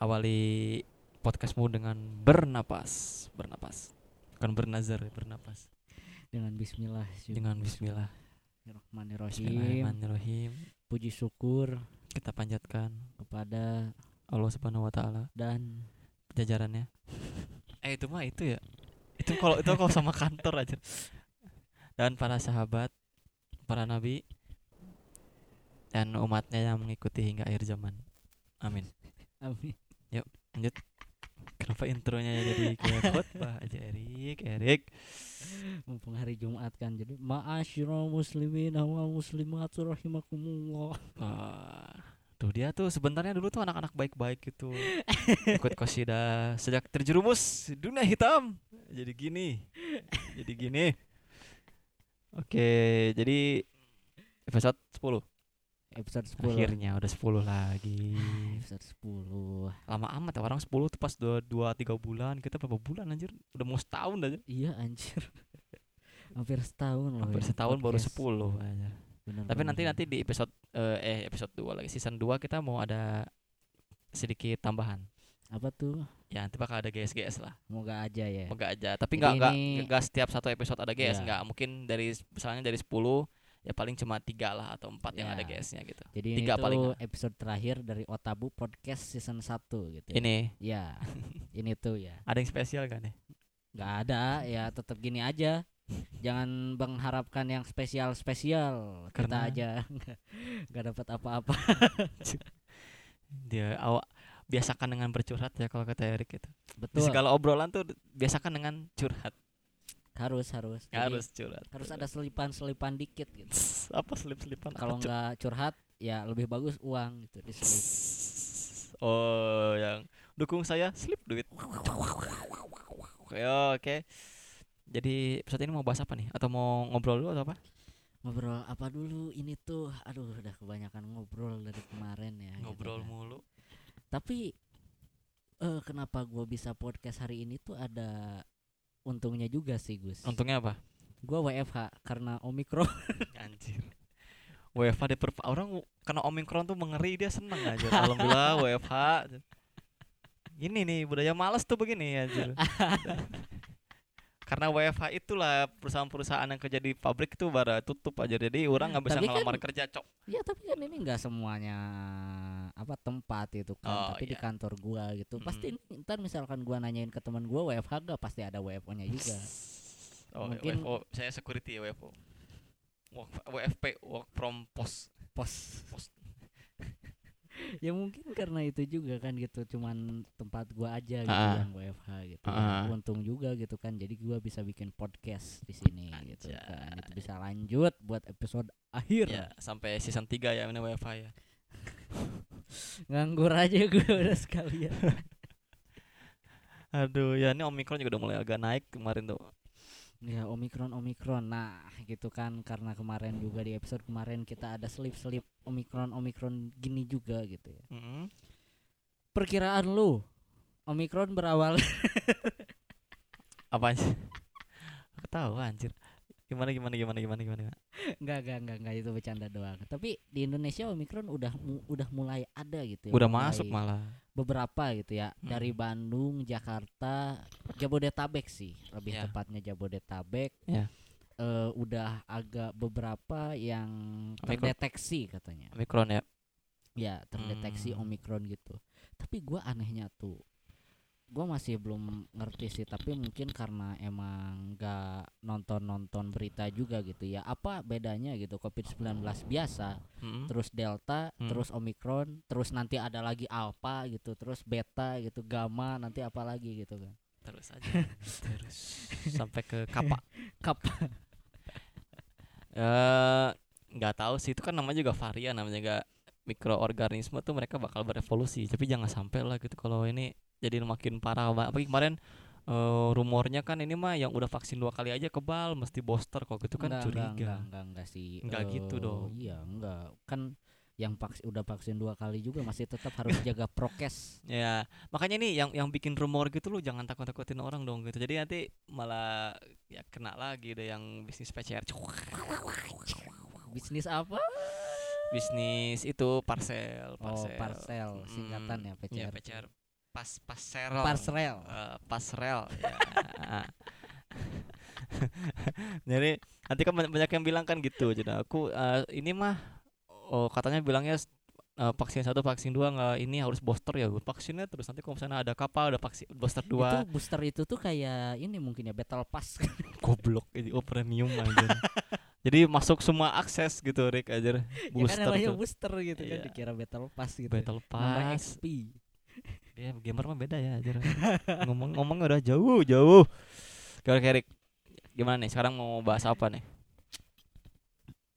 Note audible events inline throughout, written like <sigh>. Awali podcastmu dengan bernapas, bernapas. Bukan bernazar, ya, bernapas. dengan bismillah Dengan bismillah. bismillahirrahmanirrahim Bismillahirrahmanirrahim. puji syukur Kita panjatkan kepada Allah Subhanahu wa taala dan jajarannya. Eh itu mah itu ya. Itu kalau itu kalau sama kantor aja. Dan para sahabat, para nabi dan umatnya yang mengikuti hingga akhir zaman. Amin. amin <laughs> Kenapa intronya jadi kayak <laughs> khotbah aja Erik, Erik. mumpung hari Jumat kan jadi ma'asyiral muslimin wa muslimat rahimakumullah Wah, tuh dia tuh sebenarnya dulu tuh anak-anak baik-baik gitu. Ikut kosida sejak terjerumus dunia hitam. Jadi gini. Jadi gini. Oke, jadi episode 10 episode 10 akhirnya udah 10 lagi. episode 10 Lama amat ya, orang 10 tuh pas 2 2 3 bulan, kita berapa bulan anjir? Udah mau setahun aja. iya anjir <laughs> hampir setahun loh Hampir ya, setahun baru podcast. 10 aja. Bener Tapi nanti banget. nanti di episode eh, eh episode 2 lagi season 2 kita mau ada sedikit tambahan. apa tuh Ya nanti bakal ada GS-GS lah. semoga aja ya Moga aja. Tapi Jadi nggak nggak ini- nggak setiap satu episode ada GS Iya. nggak. Mungkin dari misalnya dari 10 ya paling cuma tiga lah atau empat yang ada Iya. GS-nya gitu. jadi tiga ini paling tuh nggak. episode terakhir dari Otabu Podcast season 1 gitu ya. Ini ya <laughs> ini tuh ya ada yang spesial gak nih? nggak ada ya tetap gini aja jangan mengharapkan yang spesial spesial kita Karena- aja <laughs> nggak- nggak dapat apa-apa Dia awak biasakan dengan bercurhat ya kalau kata Erik gitu. Di betul segala obrolan tuh biasakan dengan curhat. harus harus Jadi Harus curhat. harus ada selipan-selipan dikit gitu Tss, <laughs> apa selip-selipan apa kalau curhat. nggak curhat ya lebih bagus uang gitu diselip Tss, Oh, yang dukung saya slip duit. Oke, oke. Jadi episode ini mau bahas apa nih? Atau mau ngobrol dulu atau apa? ngobrol apa dulu ini tuh aduh udah kebanyakan ngobrol dari kemarin ya gitu ngobrol kan. mulu. tapi eh kenapa gua bisa podcast hari ini tuh ada untungnya juga sih Gus Untungnya apa? gua WFH karena omikron Anjir. WFH di perp- orang w- karena Omikron tuh mengeri dia seneng <laughs> aja. Alhamdulillah WFH. Ini nih budaya malas tuh begini anjir. karena WFH itulah perusahaan-perusahaan yang kerja di pabrik itu bara tutup aja. Jadi orang nggak bisa Tapi kan- ngelamar kerja, cok. Ya tapi kan ini nggak semuanya apa tempat itu kan, Oh, tapi di iya. kantor gua gitu. Pasti ini- ntar misalkan gua nanyain ke teman gua WFH gak pasti ada WFO-nya Ya <laughs> juga. Oh, Mungkin- WFO. saya security ya WFO. Work- WFP work from post. Pos. Pos. ya mungkin karena itu juga kan gitu, cuman tempat gua aja gitu Ah. yang WFH gitu. Ya, Ah. Untung juga gitu kan, jadi gua bisa bikin podcast di sini gitu kan. Itu bisa lanjut buat episode akhir. Ya, sampai season 3 ya ini WFH ya. Nganggur aja gua <laughs> udah sekalian. Aduh, ya ini Omikron juga udah mulai agak naik kemarin tuh. Ya omikron omikron nah gitu kan karena kemarin juga di episode kemarin kita ada selip selip omikron omikron gini juga gitu ya Mm-mm. perkiraan lu omikron berawal <laughs> Apaan sih? Ketawa anjir. Gimana gimana gimana gimana gimana. Ya, gimana? nggak nggak nggak nggak itu bercanda doang tapi di Indonesia omikron udah mu- udah mulai ada gitu ya, Udah mulai masuk malah. beberapa gitu ya Hmm. dari Bandung Jakarta Jabodetabek sih lebih Ya. tepatnya Jabodetabek Ya. Eh, udah agak beberapa yang Omikron. terdeteksi katanya Omikron ya. ya terdeteksi Hmm. omikron gitu tapi gua anehnya tuh gua masih belum ngerti sih tapi mungkin karena emang nggak nonton nonton berita juga gitu ya apa bedanya gitu covid 19 biasa Mm-mm. terus delta Hmm. terus omikron terus nanti ada lagi alpha gitu terus beta gitu gamma nanti apa lagi gitu kan Terus aja. Terus sampai ke Kappa. <laughs> Kappa. Eh, nggak tahu sih itu kan namanya juga varian namanya juga mikroorganisme tuh mereka bakal berevolusi tapi jangan sampai lah gitu kalau ini jadi makin parah Ba- apalagi kemarin eh, rumornya kan ini mah yang udah vaksin dua kali aja kebal mesti booster kok gitu kan Nggak, nggak, curiga nggak, nggak, nggak sih Nggak gitu Eh, dong. iya nggak kan yang vaksin udah vaksin dua kali juga masih tetap harus jaga <laughs> prokes Ya, makanya nih yang yang bikin rumor gitu lu jangan takut-takutin orang dong gitu. Jadi nanti malah ya kena lagi deh yang bisnis PCR. bisnis apa Bisnis itu parcel, parcel. oh parcel singkatan ya PCR Ya, PCR. Pas passerel. Parserel. Eh, pasrel. ya. <laughs> Jadi nanti kan banyak banyak yang bilang kan gitu. Jadi aku eh, ini mah oh katanya bilangnya s- eh, vaksin satu vaksin dua nggak ini harus booster ya vaksinnya terus nanti kalau misalnya ada kapal ada vaksin booster dua itu booster itu tuh kayak ini mungkin ya battle pass <laughs> goblok ini oh premium aja jadi masuk semua akses gitu Rick aja ya kan booster namanya tuh booster gitu Iya. kan dikira battle pass gitu battle Nambah pass XP Ya gamer mah beda ya <laughs> ajar. ngomong ngomong udah jauh jauh. Gimana Kerik? Gimana nih sekarang mau bahas apa nih?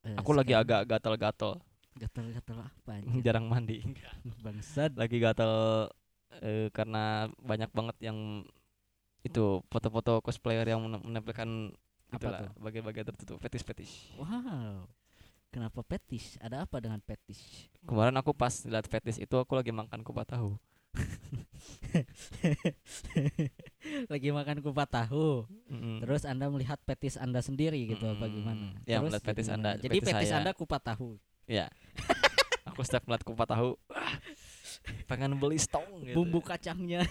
Eh, Aku lagi sekarang agak gatal-gatal, gatel-gatel apa anjir? <laughs> jarang mandi. bangsat Lagi gatal eh, karena banyak banget yang itu foto-foto cosplayer yang mene- menempelkan apa itulah tuh bagian-bagian tertentu fetish-fetish. wow kenapa fetish ada apa dengan fetish Kemarin aku pas lihat fetish itu aku lagi makan kupat tahu. <laughs> lagi makan kupat tahu Mm-mm. terus anda melihat petis anda sendiri gitu apa Mm, gimana ya, terus melihat petis jadi Anda, gimana? jadi petis petis saya. anda kupat tahu Iya. aku setiap ngeliat kupat tahu ah, pengen beli stong gitu. bumbu kacangnya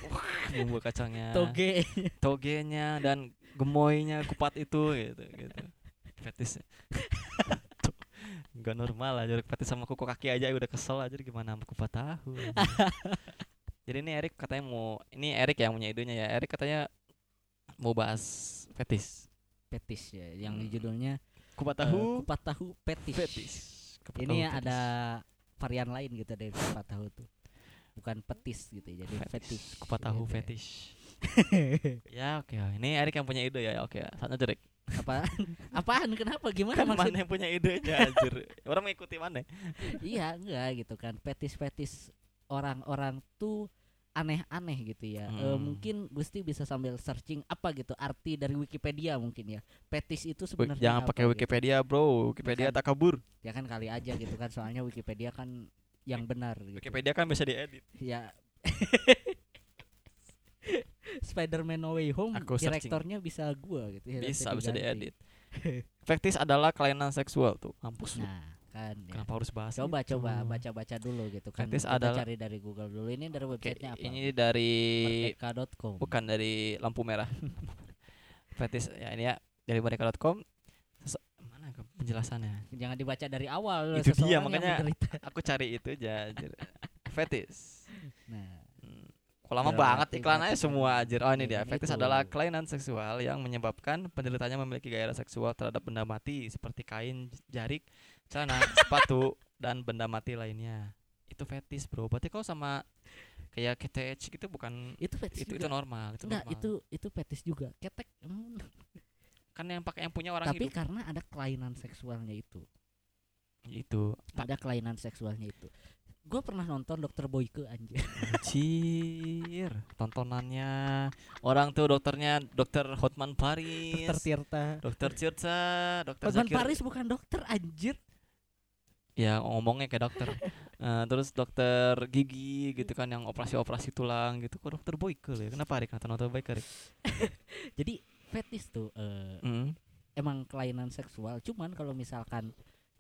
bumbu kacangnya toge togenya dan gemoynya kupat itu gitu gitu fetis nggak normal aja fetis sama kuku kaki aja udah kesel aja gimana sama kupat tahu jadi ini Erik katanya mau ini Erik yang punya idenya ya Erik katanya mau bahas fetis petis ya yang Hmm. judulnya kupat eh, tahu kupat tahu petis, fetis Kupat tahu ini fetis. ada varian lain gitu dari kupat tahu tuh bukan petis gitu ya, jadi Fetis, Iya, fetis kupat gitu tahu ya. <laughs> fetis ya oke ini Erik yang punya ide ya oke saatnya Erik <laughs> apaan apaan kenapa gimana kan mana maksudnya yang punya idenya anjir orang mengikuti mana iya enggak gitu kan petis-petis orang-orang tuh aneh-aneh gitu ya Eh, Hmm. mungkin Gusti bisa sambil searching apa gitu arti dari Wikipedia mungkin ya petis itu Wik- sebenarnya Jangan apa pakai gitu. Wikipedia, Bro. Wikipedia Bukan. tak kabur. ya kan kali aja gitu kan soalnya Wikipedia kan yang benar gitu. Wikipedia kan bisa diedit. ya <laughs> Spider-Man No Way Home Aku searching. direktornya bisa gua gitu ya, Bisa nanti bisa <laughs> diganti. diedit. Fetis adalah kelainan seksual tuh. Mampus lu. nah kan ya. Kenapa harus bahas? coba itu? coba baca-baca dulu gitu kan Fetis kita adalah- cari dari Google dulu ini dari Oke, websitenya apa ini dari merdeka.com bukan dari lampu merah. <laughs> Fetis ya ini ya dari mereka.com. Sese- mana ke- penjelasannya? jangan dibaca dari awal Itu dia, seseorang yang makanya- menderita. <laughs> Aku cari itu aja. anjir. Fetis. nah Hmm. Kok lama Dalam banget arti iklan aja berarti kan- semua anjir. Oh ini Ya, dia. kan Fetis itu. adalah kelainan seksual yang menyebabkan penderitanya memiliki gairah seksual terhadap benda mati seperti kain, j- jarik, <laughs> celana, sepatu dan benda mati lainnya. Itu fetis, Bro. Berarti kau sama kayak KTH gitu bukan itu petis itu itu juga normal, itu Enggak, normal. Nah, itu itu petis juga ketek emang. Kan yang pakai yang punya orang tapi hidup. karena ada kelainan seksualnya itu Itu. ada kelainan seksualnya itu gue pernah nonton dokter Boyke anjir Anjir, tontonannya orang tuh dokternya dokter Hotman <laughs> Paris, dokter Tirta dokter Circa, dokter Hotman Zakir Paris bukan dokter anjir ya ngomongnya kayak dokter Eh, terus dokter gigi gitu kan yang operasi-operasi tulang gitu kok dokter Boyke ya kenapa Arik nonton dokter Boyke Arik jadi fetis tuh eh, Mm. emang kelainan seksual cuman kalau misalkan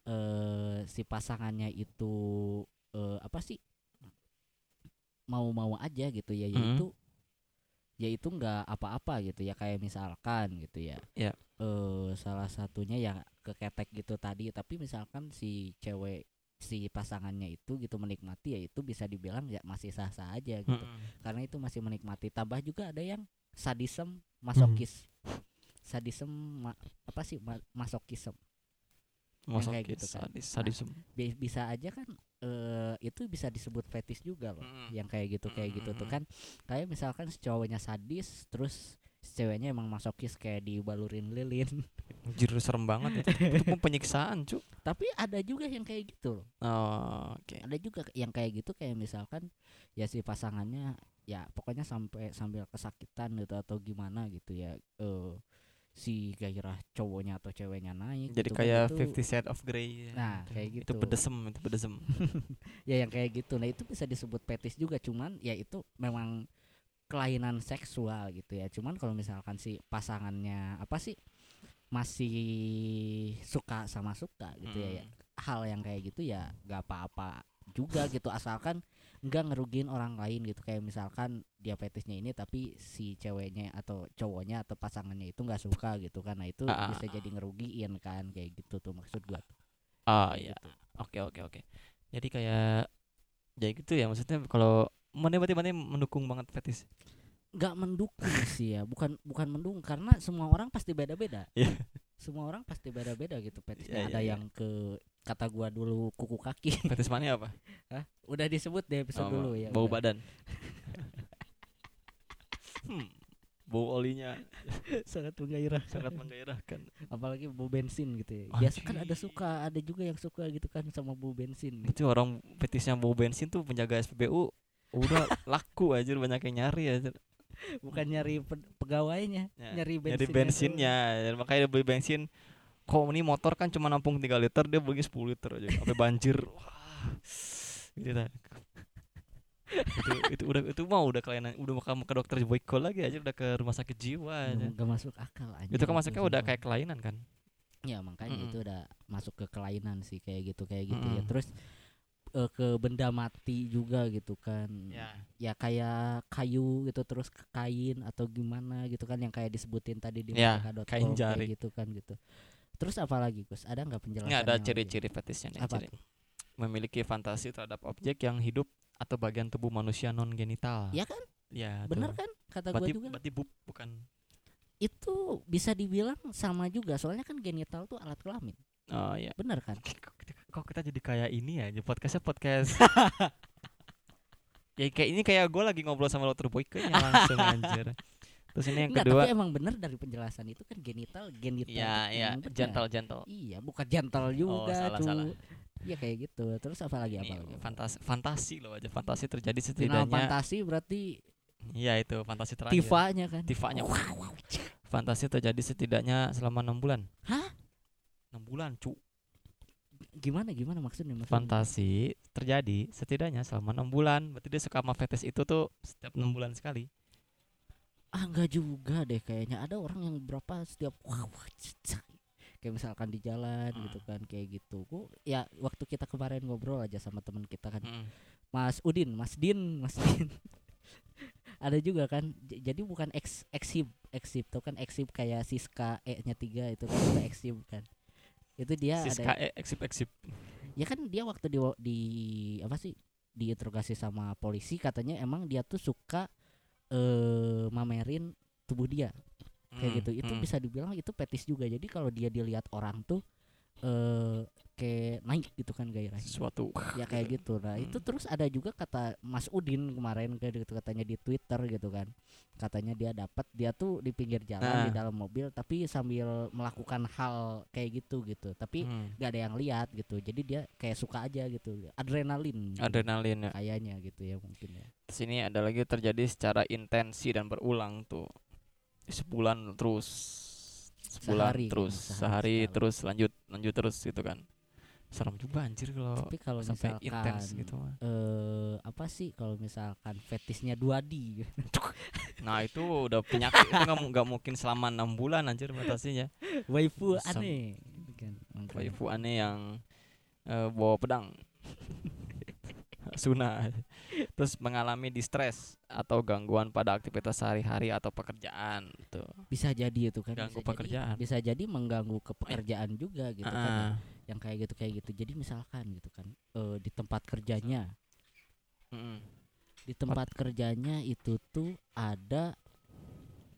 eh si pasangannya itu eh, apa sih mau-mau aja gitu ya Mhm. yaitu yaitu nggak apa-apa gitu ya kayak misalkan gitu ya Ya. eh salah satunya ya keketek gitu tadi tapi misalkan si cewek si pasangannya itu gitu menikmati ya itu bisa dibilang ya masih sah-sah aja gitu Mm-mm. karena itu masih menikmati tambah juga ada yang sadism masokis sadism ma- apa sih ma- masokism Masokis, kayak gitu kan. sadis sadism Bi- bisa aja kan eh, itu bisa disebut fetish juga loh Mm-mm. yang kayak gitu kayak gitu tuh Mm-mm. kan kayak misalkan si cowoknya sadis terus si ceweknya emang masokis kayak dibalurin lilin <laughs> Anjir, serem banget itu itu pun penyiksaan cu tapi ada juga yang kayak gitu loh oh, oke ada juga yang kayak gitu kayak misalkan ya si pasangannya ya pokoknya sampai sambil kesakitan gitu atau gimana gitu ya eh si gairah cowoknya atau ceweknya naik Jadi gitu kan, kayak itu- Fifty Shades of Grey. ya. nah Itu- kayak gitu Itu pedesem, itu pedesem. ya yang kayak gitu nah itu bisa disebut petis juga cuman ya itu memang kelainan seksual gitu ya cuman kalau misalkan si pasangannya apa sih masih suka sama suka gitu ya, ya Mm. hal yang kayak gitu ya gak apa-apa juga gitu asalkan nggak ngerugiin orang lain gitu kayak misalkan dia petisnya ini tapi si ceweknya atau cowoknya atau pasangannya itu nggak suka gitu kan nah itu Ah, ah, bisa jadi ngerugiin kan kayak gitu tuh maksud gua Gitu. Ah iya. Oke oke oke. Jadi kayak jadi gitu ya maksudnya kalau mana berarti mana mendukung banget fetis. nggak mendukung sih ya bukan bukan mendukung karena semua orang pasti beda-beda Iya. semua orang pasti beda-beda gitu Iya, petisnya iya, ada iya. yang ke kata gua dulu kuku kaki <laughs> Fetis mana apa? Hah? udah disebut deh episode Oh, dulu ya Bau udah. <laughs> badan. hmm. Bau olinya <laughs> sangat menggairah sangat menggairahkan. apalagi bau bensin gitu ya biasa kan ada suka ada juga yang suka gitu kan sama bau bensin <laughs> Itu orang fetisnya bau bensin tuh penjaga SPBU <laughs> udah laku aja banyak yang nyari aja. bukan nyari pe- pegawainya Ya, nyari bensin Jadi bensinnya dan makanya dia beli bensin kok ini motor kan cuma nampung 3 liter dia beli 10 liter aja sampai banjir <laughs> wah gitu dah. itu, itu udah itu mah udah kelainan udah mau ke dokter boyko lagi aja udah ke rumah sakit jiwa aja. nggak masuk akal anjir itu kan masuknya udah sumpah. kayak kelainan kan Ya makanya Mm-mm. itu udah masuk ke kelainan sih kayak gitu kayak gitu ya. Mm-mm. Terus eh, ke benda mati juga gitu kan. Iya. Ya kayak kayu gitu terus ke kain atau gimana gitu kan yang kayak disebutin tadi di Ya, mereka.com kain kayak jari. gitu kan gitu. Terus apa lagi Gus? Ada nggak penjelasan? nggak ada yang ciri-ciri fetisnya nih iya. Apa ciri. memiliki fantasi terhadap objek yang hidup atau bagian tubuh manusia non genital Ya kan? ya lagi? Bener tuh. kan kata gua berarti juga. berarti bub bukan Itu bisa dibilang sama juga soalnya kan genital tuh alat kelamin. oh ya Bener kan? Kok kita- kok kita jadi kayak ini ya jadi podcastnya <laughs> podcast ya kayak ini kayak gue lagi ngobrol sama dokter Boyke <laughs> nya langsung anjir terus ini yang Nggak, kedua tapi emang bener dari penjelasan itu kan genital genital. ya ya Emang bener. gentle gentle Iya, bukan jantal juga salah, tuh. salah. Iya kayak gitu. Terus apa lagi apa ini lagi? fantasi fantasi loh aja fantasi terjadi Final setidaknya fantasi berarti iya itu fantasi terakhir tifanya kan? tifanya fantasi terjadi setidaknya selama enam bulan Hah? 6 bulan cu Gimana gimana maksudnya? maksudnya? fantasi terjadi setidaknya selama enam bulan berarti dia suka sama fetis itu tuh setiap enam bulan sekali Ah enggak juga deh kayaknya. Ada orang yang berapa setiap kayak misalkan di jalan Hmm. gitu kan kayak gitu. Gua, ya waktu kita kemarin ngobrol aja sama teman kita kan. Mm. Mas Udin, Mas Din, Mas Din. <laughs> ada juga kan. J- jadi bukan ex exhib, exhib tuh kan exhib kayak Siska E-nya tiga itu kan itu exhib kan. Itu dia Siska Ya, ada eh, eksip eksip ya kan dia waktu di di apa sih diinterogasi sama polisi katanya emang dia tuh suka eh mamerin tubuh dia kayak Mm, gitu. Itu mm. bisa dibilang itu petis juga. Jadi kalau dia dilihat orang tuh eh kayak naik gitu kan gairahnya Hmm. sesuatu ya kayak gitu nah itu Hmm. terus ada juga kata Mas Udin kemarin kayak gitu katanya di Twitter gitu kan katanya dia dapat dia tuh di pinggir jalan Nah. di dalam mobil tapi sambil melakukan hal kayak gitu gitu tapi Hmm. nggak ada yang lihat gitu jadi dia kayak suka aja gitu adrenalin gitu, adrenalin ya kayaknya gitu ya mungkin ya sini ada lagi terjadi secara intensi dan berulang tuh sebulan terus sebulan Sehari kan, terus sehari sehari sekali. terus lanjut lanjut terus gitu kan serem juga anjir kalau tapi kalau Oh, sampai misalkan intens gitu mah. eh, apa sih kalau misalkan fetisnya 2D nah itu udah penyakit itu nggak mu- nggak mungkin selama enam bulan anjir batasinya <laughs> waifu Sam- aneh gitu kan. Mungkin. waifu aneh yang eh, bawa pedang Suna terus mengalami distres atau gangguan pada aktivitas sehari-hari atau pekerjaan gitu. tuh bisa jadi itu kan Ganggu bisa jadi- pekerjaan. bisa jadi mengganggu ke pekerjaan juga gitu Ah, kan yang kayak gitu kayak gitu jadi misalkan gitu kan eh, di tempat kerjanya mm-mm. di tempat kerjanya itu tuh ada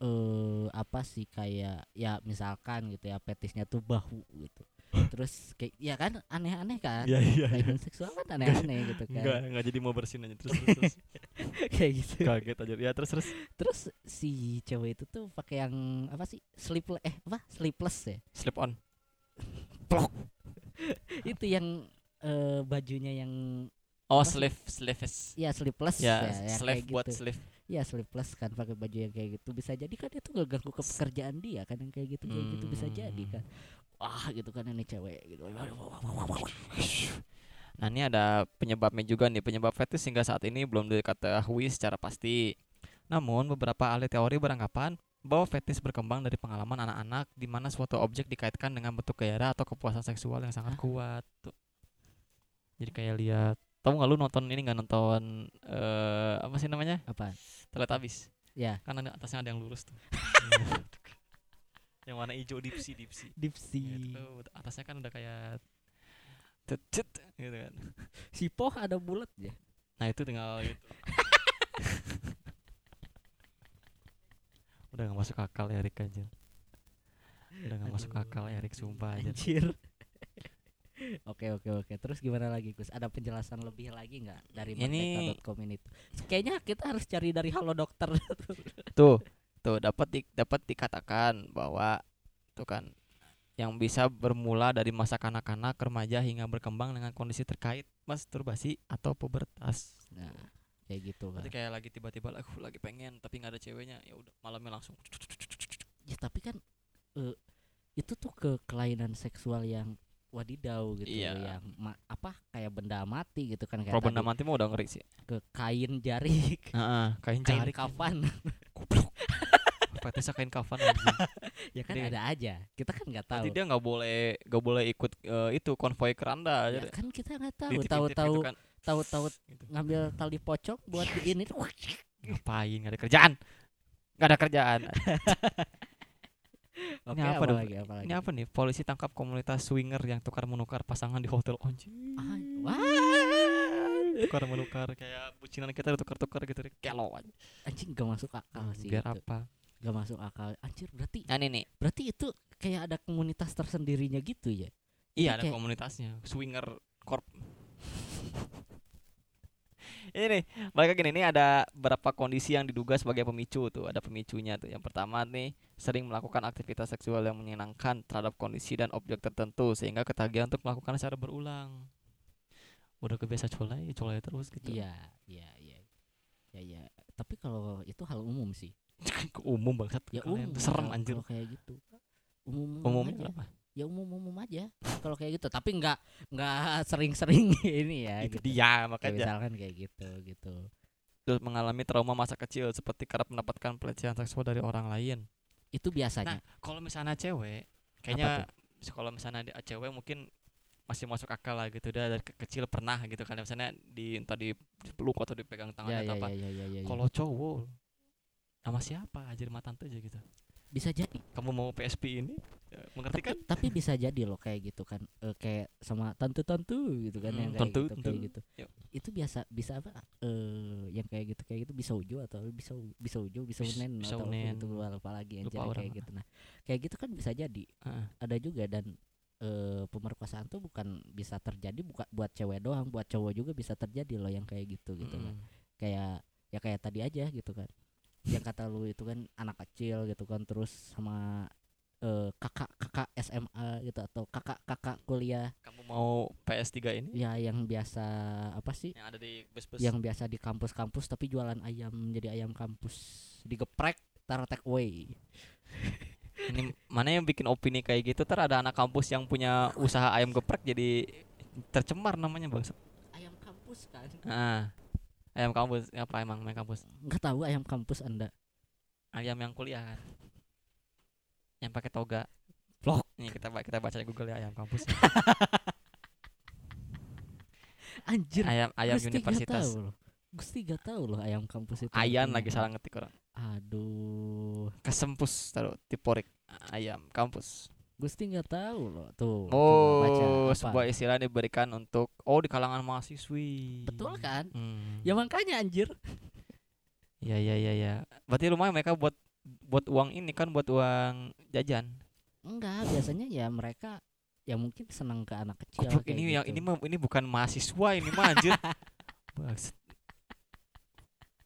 eh apa sih kayak ya misalkan gitu ya petisnya tuh bahu <laughs> gitu terus kayak ya kan aneh-aneh kan Iya iya. iya. Kelainan seksual kan aneh-aneh gitu Enggak, kan enggak jadi mau bersihin aja terus terus, terus. <laughs> kayak gitu kaget aja. Ya terus terus terus si cewek itu tuh pakai yang apa sih sleepless eh apa sleepless ya slip on. itu yang eh, bajunya yang Oh, Apa sih? sleeve Oh, sleeves. ya sleepless Ya, ya, yang sleeve kayak buat gitu. sleeve. ya sleepless kan pakai baju yang kayak gitu bisa jadi kan itu nggak ganggu ke pekerjaan dia kan yang kayak gitu kayak gitu bisa jadi kan Hmm. wah gitu kan ini cewek gitu Nah ini ada penyebabnya juga nih Penyebab fetis hingga saat ini belum diketahui secara pasti Namun beberapa ahli teori beranggapan bahwa fetis berkembang dari pengalaman anak-anak di mana suatu objek dikaitkan dengan bentuk gairah atau kepuasan seksual yang sangat Hah? kuat. Tuh. Jadi kayak lihat, tahu nggak lu nonton ini nggak nonton eh apa sih namanya? apa Teletubbies. ya Kan ada- atasnya ada yang lurus tuh. Iya. <laughs> yang warna hijau dipsi dipsi. dipsi Gitu. Atasnya kan udah kayak cet cet gitu kan. si poh ada bulat ya Nah itu <laughs> tinggal gitu. Udah nggak masuk akal Erik aja. Udah nggak masuk Aduh, akal Erik sumpah aja. anjir <laughs> Oke oke oke. Terus gimana lagi Gus? Ada penjelasan lebih lagi nggak dari Ini- merdeka.com ini? tuh? Kayaknya kita harus cari dari Halo Dokter. Nah, Tuh, tuh dapat di, dapat dikatakan bahwa tuh kan yang bisa bermula dari masa kanak-kanak remaja hingga berkembang dengan kondisi terkait masturbasi atau pubertas. nah, kayak gitu kan. Berarti kayak lagi tiba-tiba aku lagi pengen tapi nggak ada ceweknya, ya udah malamnya langsung. Ya tapi kan eh, itu tuh ke kelainan seksual yang wadidau gitu Iya. yang ma- apa kayak benda mati gitu kan kayak Kalau benda tadi, mati mah udah ngeri sih. ke kain jari, ke Heeh, <laughs> kain kain jari kafan. <laughs> goblok. Fetisnya kain kafan anjing. ya kan Gede. ada aja. Kita kan nggak tahu. Berarti dia nggak boleh nggak boleh ikut eh, itu konvoy keranda aja Ya deh. kan kita nggak tahu. Dititip-titip Tahu-tahu gitu kan. tahu-tahu Gitu. ngambil tali pocong buat di ini <laughs> Ngapain nggak ada kerjaan? Nggak ada <laughs> kerjaan. Oke, apa dong? lagi, apa lagi? Ini apa nih? Polisi tangkap komunitas swinger yang tukar menukar pasangan di hotel anjing. Ah, wah, Tukar menukar kayak bucinan kita ditukar-tukar gitu deh. Kelo aja. anjing gak masuk akal sih. Biar itu. apa? Gak masuk akal. Anjir, berarti Nah ini nih. berarti itu kayak ada komunitas tersendirinya gitu ya. Iya Jadi ada kayak- komunitasnya swinger corp. <laughs> ini nih, balik lagi nih, ini ada beberapa kondisi yang diduga sebagai pemicu tuh, ada pemicunya tuh. Yang pertama nih, sering melakukan aktivitas seksual yang menyenangkan terhadap kondisi dan objek tertentu sehingga ketagihan untuk melakukan secara berulang. Udah kebiasa colai, colai terus gitu. Iya, iya, iya. Ya, ya. Tapi kalau itu hal umum sih. <laughs> Ke umum banget Ya kalian umum. tuh serem kalau- anjir. kalau kayak gitu. Umum, umum Umumnya aja. apa? Ya umum umum aja. kalau kayak gitu, tapi nggak nggak sering-sering <laughs> ini ya. Itu gitu. dia Kayak makanya. misalkan kayak gitu gitu. Terus mengalami trauma masa kecil seperti kerap mendapatkan pelecehan seksual dari orang lain. Itu biasanya. Nah, kalau misalnya cewek, kayaknya se- kalau misalnya ada cewek mungkin masih masuk akal lah gitu dah dari ke- kecil pernah gitu kan misalnya di entah di peluk atau dipegang ya, tangannya ya, atau apa. ya, ya, ya, ya, ya. Kalau cowok sama siapa aja mata tante aja gitu. bisa jadi Kamu mau PSP ini? Ya, Mengerti tapi, kan? tapi bisa jadi loh kayak gitu kan eh, kayak sama tentu-tentu gitu kan yang Hmm, kayak tentu, gitu tentu. kayak gitu Yuk. itu biasa bisa apa eh yang kayak gitu kayak gitu bisa ujo atau bisa bisa ujo bisa Bis- unen bisa atau unen. gitu apa lagi anjir Lupa kayak orang. gitu nah kayak gitu kan bisa jadi Heeh. ada juga dan eh pemerkosaan tuh bukan bisa terjadi bukan buat cewek doang buat cowok juga bisa terjadi loh yang kayak gitu gitu kan Mm-mm. kayak ya kayak tadi aja gitu kan yang kata lu itu kan anak kecil gitu kan terus sama eh, kakak-kakak SMA gitu atau kakak-kakak kuliah Kamu mau PS3 ini? ya yang biasa apa sih Yang ada di bus-bus. Iya. yang biasa di kampus-kampus tapi jualan ayam jadi ayam kampus digeprek taruh take away Ini mana yang bikin opini kayak gitu? Ter ada anak kampus yang punya usaha ayam geprek jadi tercemar namanya bang. ayam kampus kan Ah, ayam kampus apa emang main kampus? nggak tahu ayam kampus anda ayam yang kuliah kan yang pakai toga Blok. nih kita ba- kita baca di Google ya ayam kampus anjir ayam ayam Gusti nggak universitas tahu loh Gusti gak tahu loh ayam kampus itu ayan artinya lagi apa. salah ngetik orang aduh kesempus taruh tiporik ayam kampus Gusti nggak tahu loh tuh coba oh apa? sebuah istilah diberikan untuk oh di kalangan mahasiswi Betul kan? hmm. Ya makanya anjir. ya ya ya ya berarti lumayan mereka buat buat uang ini kan buat uang jajan Enggak, biasanya ya mereka ya mungkin senang ke anak kecil Goblok, kayak ini yang gitu. ini mah ini bukan mahasiswa ini mah <laughs> anjir. Bangsat.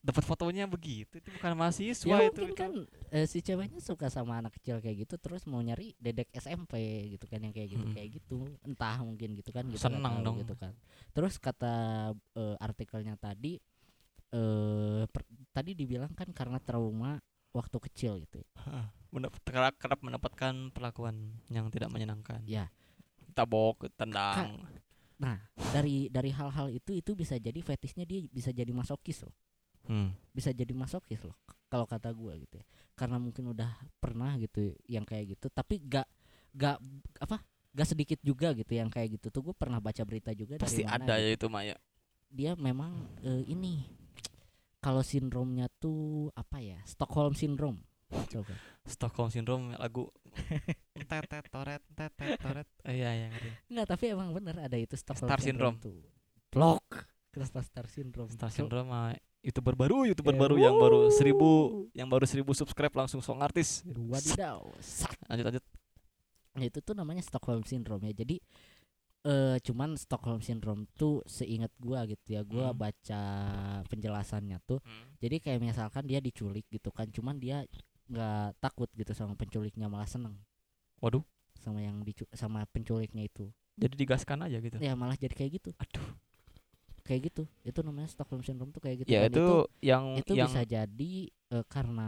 Dapat fotonya begitu itu bukan mahasiswa ya itu. mungkin itu. kan eh, si ceweknya suka sama anak kecil kayak gitu terus mau nyari dedek SMP gitu kan yang kayak gitu Mm-mm. kayak gitu entah mungkin gitu kan gitu nggak Seneng tahu dong. gitu kan terus kata eh, artikelnya tadi eh per- tadi dibilang kan karena trauma waktu kecil gitu. Mendapat, kerap, kerap mendapatkan perlakuan yang tidak menyenangkan. Ya. Tabok, tendang. Nah, Dari dari hal-hal itu itu bisa jadi fetishnya dia bisa jadi masokis loh. Hmm. Bisa jadi masokis loh k- kalau kata gua gitu ya. Karena mungkin udah pernah gitu yang kayak gitu tapi gak gak apa? Gak sedikit juga gitu yang kayak gitu tuh gue pernah baca berita juga Pasti dari mana ada gitu. ya itu Maya. dia memang eh, ini kalau sindromnya tuh apa ya Stockholm syndrome coba Stockholm syndrome ya, <laughs> lagu tetet toret tetet toret. Oh, iya iya ngerti. Enggak tapi emang bener ada itu Stockholm Star syndrome, tuh blok Kenapa Star syndrome Star Co- syndrome mah youtuber baru youtuber Eh, baru yang baru wuh. seribu yang baru seribu subscribe langsung song artis wadidaw Sat. lanjut lanjut Nah, itu tuh namanya Stockholm syndrome ya jadi eh cuman Stockholm syndrome tuh seingat gua gitu ya gua Hmm. baca penjelasannya tuh jadi kayak misalkan dia diculik gitu kan cuman dia nggak takut gitu sama penculiknya malah seneng waduh sama yang dicu sama penculiknya itu jadi digaskan aja gitu ya malah jadi kayak gitu aduh kayak gitu itu namanya Stockholm syndrome tuh kayak gitu ya Dan itu yang itu, itu yang bisa jadi eh, karena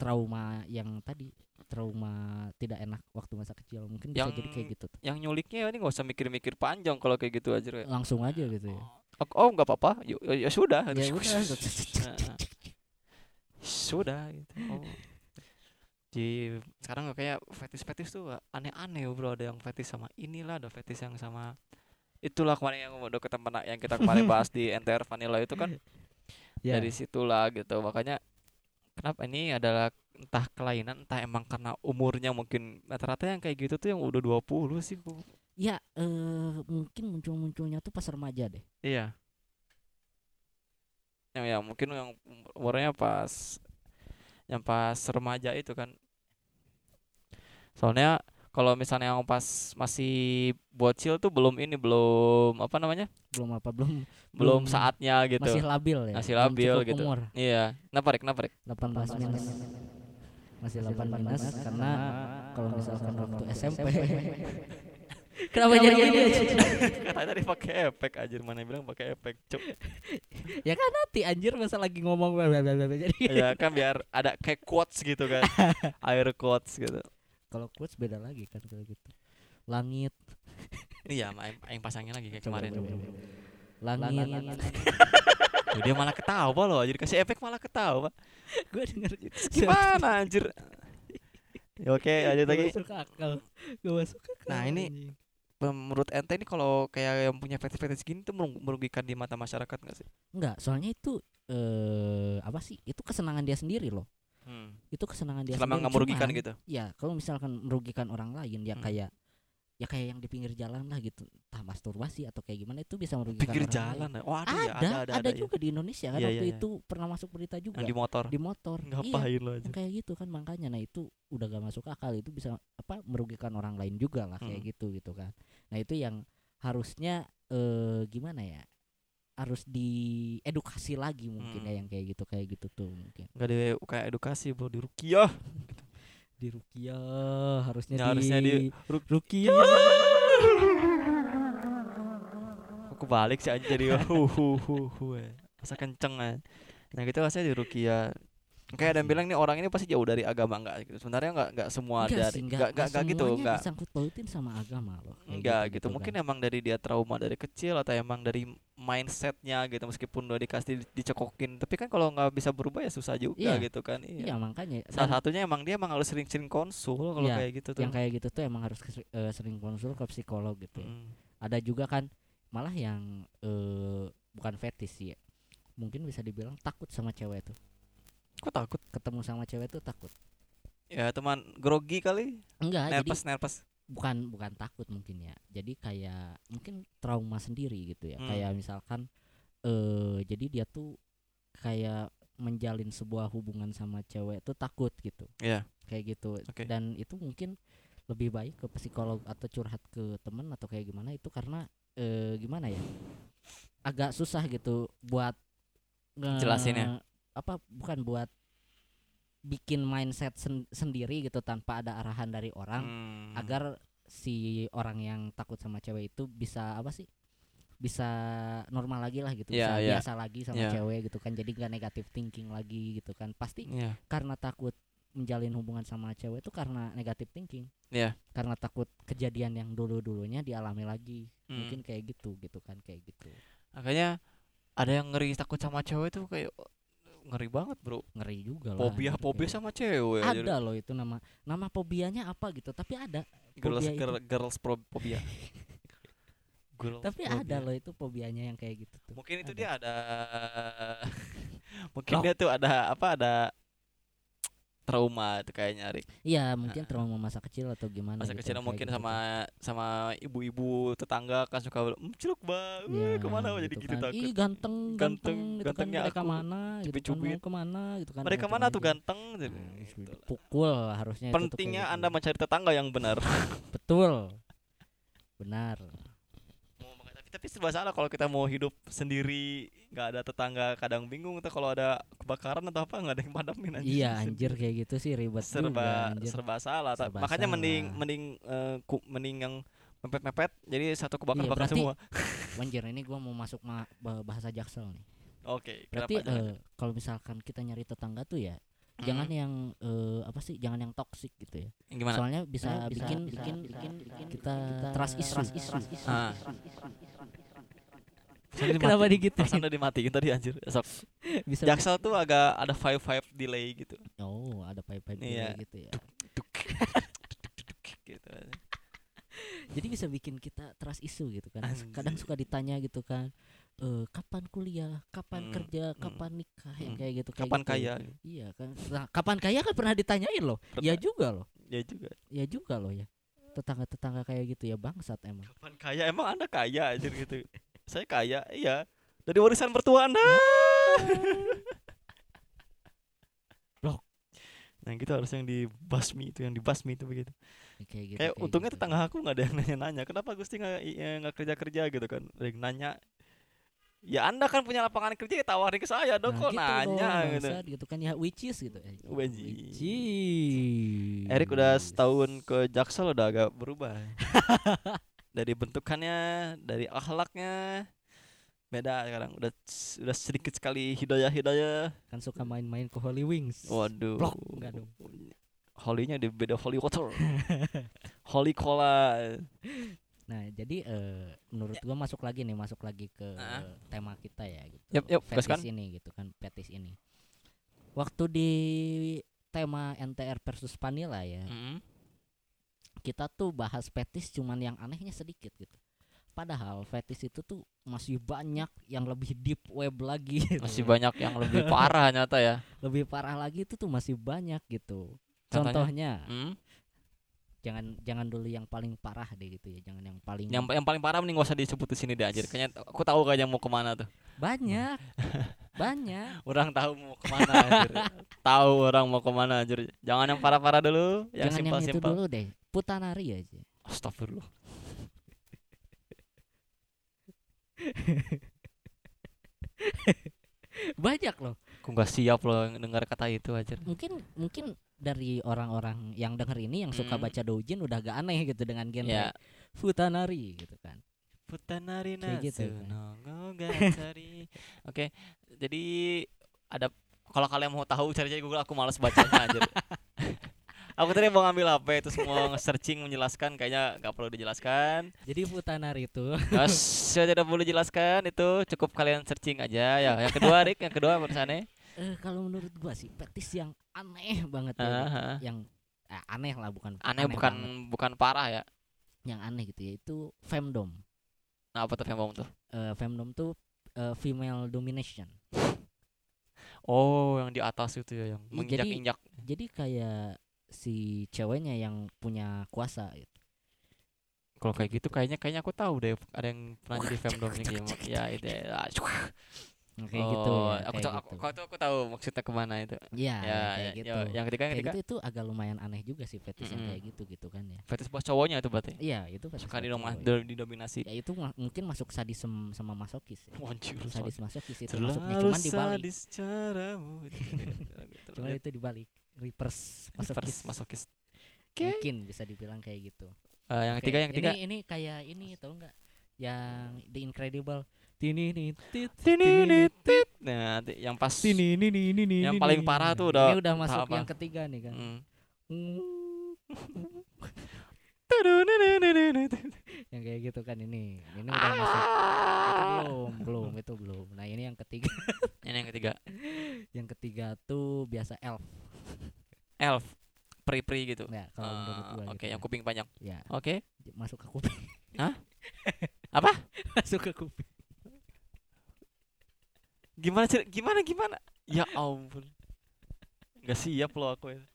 trauma yang tadi trauma tidak enak waktu masa kecil mungkin bisa Yang- jadi kayak gitu tuh. yang nyuliknya ini nggak usah mikir-mikir panjang kalau kayak gitu aja ya. langsung aja gitu ya oh oh, nggak apa-apa ya, ya- ya sudah ya udah Heeh. <laughs> sudah gitu oh. di sekarang kayak fetis-fetis tuh aneh-aneh bro ada yang fetis sama inilah ada fetis yang sama itulah kemarin yang udah kita pernah yang kita kemarin bahas <laughs> di NTR Vanilla itu kan Ya. dari situlah gitu makanya kenapa ini adalah entah kelainan entah emang karena umurnya mungkin rata-rata yang kayak gitu tuh yang udah 20 sih Bu. ya eh, mungkin muncul munculnya tuh pas remaja deh Iya. Yang ya mungkin yang um- umurnya pas yang pas remaja itu kan. Soalnya kalau misalnya yang pas masih bocil tuh belum ini belum apa namanya? belum apa belum Belum Belum- saatnya gitu. masih labil ya Masih belum labil cukup gitu. umur Iya. Kenapa Rik? Kenapa Rik? 18 minus masih 8 minus karena kalau misalkan waktu SMP <laughs> kenapa jadi gitu? gini <laughs> Katanya tadi pakai efek aja mana bilang pakai efek. Cuk. ya kan nanti anjir masa lagi ngomong bla bla bla bla, bla. jadi Ya kan biar ada kayak quotes gitu <laughs> kan. Air quotes gitu. kalau quotes beda lagi kan kalau gitu langit Iya, ma- yang- yang pasangnya lagi kayak Coba, kemarin. coba, coba. langit <laughs> Tuh, dia malah ketawa loh, jadi kasih efek malah ketawa. gue denger <laughs> gitu. Gimana anjir? Ya, Oke, lanjut Gak lagi. masuk akal gak masuk akal Nah, ini- anjing. Menurut ente ini kalau kayak yang punya fetish-fetish gini tuh merung- merugikan di mata masyarakat gak sih? enggak soalnya itu eh apa sih itu kesenangan dia sendiri loh Hmm. itu kesenangan dia Selama sendiri nggak merugikan Cuman, gitu. ya kalau misalkan merugikan orang lain ya Hmm. kayak ya kayak yang di pinggir jalan lah gitu entah masturbasi atau kayak gimana itu bisa merugikan Pinggir orang jalan. lain. ya? Oh, ada, ada, ya, ada, ada, ada, ya. juga di Indonesia kan Iya, waktu iya, iya. itu pernah masuk berita juga Yang di motor. di motor iya Ngapain lo aja? yang kayak gitu kan makanya nah itu udah gak masuk akal itu bisa apa merugikan orang lain juga lah kayak Hmm. gitu gitu kan nah itu yang harusnya eh gimana ya harus diedukasi lagi mungkin ya Hmm. yang kayak gitu kayak gitu tuh mungkin Enggak ada kayak edukasi, Bro, di rukiah. di rukiah harusnya, Ya, harusnya di Ruk- rukiah Aku balik sih aja jadi hu hu hu hu. ya. eh. Masa kenceng eh. Nah, gitu rasanya di rukiah. Kayak ada yang Asli. bilang nih orang ini pasti jauh dari agama enggak gitu. Sebenarnya enggak enggak semua dari sih, enggak enggak enggak gitu, semuanya enggak. disangkut pautin sama agama loh kayak Enggak gitu, mungkin kan. emang dari dia trauma dari kecil atau emang dari mindsetnya gitu meskipun udah dikasih di- dicekokin tapi kan kalau nggak bisa berubah ya susah juga Iya. gitu kan iya iya. makanya Dan salah satunya emang dia emang harus sering-sering konsul kalau Iya, kayak gitu tuh yang kayak gitu tuh emang harus kes- eh, sering konsul ke psikolog gitu ya. Mm. ada juga kan malah yang eh bukan fetish sih ya mungkin bisa dibilang takut sama cewek tuh kok takut ketemu sama cewek tuh takut ya teman grogi kali enggak Ah, jadi nervous nervous bukan bukan takut mungkin ya jadi kayak mungkin trauma sendiri gitu ya Hmm. kayak misalkan eh jadi dia tuh kayak menjalin sebuah hubungan sama cewek tuh takut gitu Iya. kayak gitu Oke. dan itu mungkin lebih baik ke psikolog atau curhat ke temen atau kayak gimana itu karena eh gimana ya agak susah gitu buat nge- Jelasinnya. apa bukan buat bikin mindset sen- sendiri gitu tanpa ada arahan dari orang Hmm. agar si orang yang takut sama cewek itu bisa apa sih bisa normal lagi lah gitu Iya, bisa iya. biasa lagi sama Iya. cewek gitu kan jadi nggak negatif thinking lagi gitu kan pasti Iya. karena takut menjalin hubungan sama cewek itu karena negatif thinking Iya. karena takut kejadian yang dulu dulunya dialami lagi Mm. mungkin kayak gitu gitu kan kayak gitu Makanya ada yang ngeri takut sama cewek tuh kayak ngeri banget, Bro. ngeri juga lah Fobia anjir, fobia kayak sama cewek. anjir. ada loh itu nama nama fobianya apa gitu tapi ada girls fobia itu. girl- girls pro- fobia. Girls tapi phobia. ada loh itu fobianya yang kayak gitu tuh Mungkin itu Ada. dia ada <laughs> Mungkin Loh. dia tuh ada apa ada trauma tuh kayaknya Rik. iya mungkin Ah. trauma masa kecil atau gimana Masa gitu, kecil kayak mungkin gitu tuh. sama sama ibu-ibu tetangga kan suka bilang, "Mm, ciluk ba, Iya, eh, kemana jadi gitu kan. takut. Ih ganteng, Ganteng, ganteng, gitu kan gantengnya mereka aku, mana gitu kan cubit-cubit. mau kemana gitu kan Mereka ganteng mana tuh aja. ganteng? Jadi, Nah, terus gitu lah. dipukul lah harusnya itu tuh kayak Pentingnya gitu. Anda mencari tetangga yang benar. betul benar Mau makan- tapi tapi serba salah kalau kita mau hidup sendiri nggak ada tetangga kadang bingung tuh kalau ada kebakaran atau apa nggak ada yang padamin anjir. iya anjir kayak gitu sih ribet serba juga, anjir. serba salah Ta- Serba makanya mending salah. mending eh, ku- mending yang mepet mepet jadi satu kebakar Iya, bakar berarti- semua anjir ini gua mau masuk ma- bah- bahasa jaksel nih oke berarti kenapa jangan? eh, kalau misalkan kita nyari tetangga tuh ya jangan yang eh, apa sih jangan yang toksik gitu ya Hmm, gimana soalnya bisa Nah, bisa- bikin bisa- bikin bisa- bikin bikin kita, kita trust issue, trust issue. Ah. Tadi kenapa dimatiin. digitu Perasaan udah dimatiin tadi anjir Sok. bisa Jaksel tuh agak ada five five delay gitu oh ada pipe pipe Iya. gitu ya Duk, duk, gitu jadi bisa bikin kita trust issue gitu kan Anjir. kadang suka ditanya gitu kan eh kapan kuliah kapan Mm, kerja mm, kapan nikah yang mm. kayak gitu kayak kapan gitu. kaya iya kan Nah, kapan kaya kan pernah ditanyain loh ya juga loh ya juga ya juga loh ya tetangga tetangga kayak gitu ya bangsat emang kapan kaya emang anda kaya anjir gitu saya kaya iya dari warisan mertua <laughs> anda Blok. nah gitu harus yang dibasmi itu yang dibasmi itu begitu kayak gitu kayak untungnya gitu. tetangga aku nggak ada yang nanya-nanya kenapa Gusti nggak i- eh, nggak kerja-kerja gitu kan ada yang nanya ya anda kan punya lapangan kerja ya tawarin ke saya dong Nah, kok gitu nanya dong, gitu bangsat gitu kan ya which is gitu eh, Which which is. Erik udah setahun ke Jaksel udah agak <laughs> berubah dari bentukannya dari akhlaknya beda sekarang udah udah sedikit sekali hidayah hidayah kan suka main-main ke Holy Wings waduh Blok, enggak dong. Holy-nya di beda holy <laughs> water holy cola Nah, jadi eh, menurut gua masuk lagi nih, masuk lagi ke Ah. tema kita ya gitu. Yap, yap, Fetish gaskan. ini gitu kan, fetish ini. Waktu di tema NTR versus Vanilla ya, Hmm. kita tuh bahas fetish cuman yang anehnya sedikit gitu. Padahal fetish itu tuh masih banyak yang lebih deep web lagi. <laughs> gitu masih ya. banyak yang lebih parah nyata ya Lebih parah lagi itu tuh masih banyak gitu. Contohnya? Contohnya, Hmm? jangan jangan dulu yang paling parah deh gitu ya, jangan yang paling yang yang paling parah mending gak usah disebut di sini deh anjir kayaknya t- aku tahu kayaknya mau kemana tuh <laughs> banyak. banyak. orang tahu mau kemana <laughs> anjir tahu orang mau kemana anjir jangan yang parah-parah dulu yang Ya, Jangan yang itu simpel-simpel dulu deh. Putanari aja. Astagfirullah. Banyak loh. Aku nggak siap loh dengar kata itu aja. Mungkin mungkin dari orang-orang yang denger ini yang suka Hmm. baca doujin udah gak aneh gitu dengan genre Ya. futanari gitu kan. Putanari Kayak gitu, kan? <laughs> Oke, jadi ada kalau kalian mau tahu cari cari Google aku malas bacanya <laughs> anjir. aku tadi mau ngambil HP terus mau searching menjelaskan kayaknya nggak perlu dijelaskan. Jadi futanari <laughs> itu Terus saya tidak perlu jelaskan itu cukup kalian searching aja ya. Yang kedua Rick, yang kedua barusannya. eh, kalau menurut gua sih petis yang aneh banget ya, Heeh, Bang. heeh. yang eh, aneh lah bukan Ah. Aneh bukan banget. bukan parah ya. yang aneh gitu ya itu femdom. Nah, apa tuh Fembom tuh? Eh, femdom tuh eh, female domination. Oh, yang di atas itu ya yang Iya, jadi- menginjak-injak. Jadi kayak si ceweknya yang punya kuasa gitu. Kalau kayak gitu kayaknya kayaknya aku tahu deh ada yang pernah jadi femdom ini game. <laughs> Ya itu. Ya. Kayak gitu Oh, ya, aku kayak tahu aku, gitu. kau tuh aku tahu maksudnya kemana itu. Ya, Iya, kayak ya, gitu. ya, yang ketiga yang kayak ketiga. gitu itu agak lumayan aneh juga sih fetish yang Mm-mm. kayak gitu gitu kan ya Fetis bos cowoknya itu berarti. iya itu fetish Suka buat dinoma- cowok ya. do- didominasi. ya itu ma- mungkin masuk sadism sama masokis ya. Wancur. sadis masokis itu Terlalu masuknya ya, cuman dibalik sadis caramu. <laughs> cuman itu dibalik reverse masokis First masokis. Oke. mungkin bisa dibilang kayak gitu Eh, yang ketiga Kayak- yang ketiga ini ini kayak ini tau nggak yang The Incredible. Tini ini Nah, nanti yang pas tini ini ini ini. yang paling parah tuh udah Ini udah masuk tahapan. yang ketiga nih kan. Mm. Hmm, yang kayak gitu kan ini. Ini udah masuk. Itu belum, belum, itu belum. Nah, ini yang ketiga. Ini yang ketiga, yang ketiga tuh biasa elf. elf, pri-pri gitu. Ya, kalau menurut Ah, gua Oke, gitu yang kuping panjang. ya. Ya, Oke, j- masuk ke kuping. Hah? Apa? <laughs> masuk ke kuping. gimana cer- gimana gimana? Ya ampun, nggak siap loh aku. ini.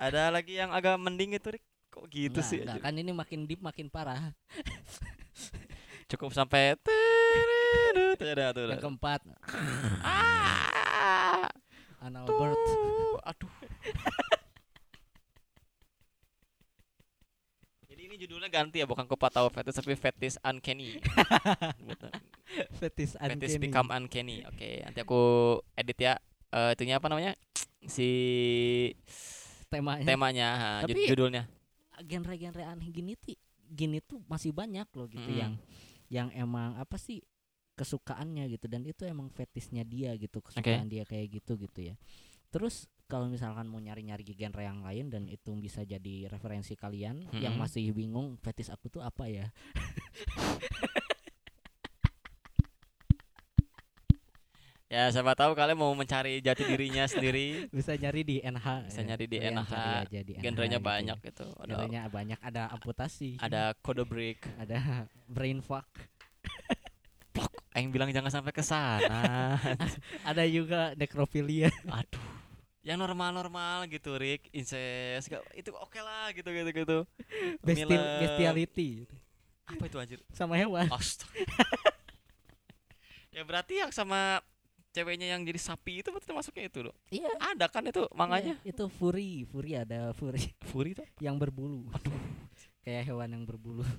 Ada lagi yang agak mending itu, Rik. Kok gitu Enggak, sih? enggak, anjir? kan ini makin deep makin parah. Cukup sampai. Tuh, ada, tuh, ada. Yang keempat, Ah. anal bird. Tuh, Aduh. <laughs> Jadi ini judulnya ganti ya, bukan kupat tahu fetish tapi fetish uncanny. <laughs> Gitu. Bukan, Fetis fetish uncanny. become uncanny. Oke, nanti aku edit ya. Eh itunya apa namanya? Si temanya. temanya, ha, ju- Tapi- judulnya. genre-genre aneh gini ti- gini tuh masih banyak loh gitu Mm-mm. yang yang emang apa sih kesukaannya gitu dan itu emang fetisnya dia gitu kesukaan dia kayak gitu gitu ya terus kalau misalkan mau nyari-nyari genre yang lain dan itu bisa jadi referensi kalian yang Mm-mm. masih bingung fetis aku tuh apa ya <laughs> Ya, siapa tahu kalian mau mencari jati <laughs> dirinya sendiri. bisa nyari di NH Bisa nyari di Kalian NH, Oh iya, cari aja di NH Genrenya gitu ya. banyak gitu. Ada genrenya banyak ada amputasi ada kode break. ada <laughs> brain fuck Aing bilang jangan sampai ke <laughs> sana. ada juga necrophilia aduh yang normal-normal gitu Rick incest gak- itu oke lah gitu gitu gitu Bestial, Milem. bestiality apa itu anjir sama hewan Astaga. ya berarti yang sama ceweknya yang jadi sapi itu berarti masuknya itu loh iya ada kan itu manganya Iya, itu furi, furi ada furi Fury tuh <laughs> yang berbulu. <laughs> Kayak hewan yang berbulu. <laughs>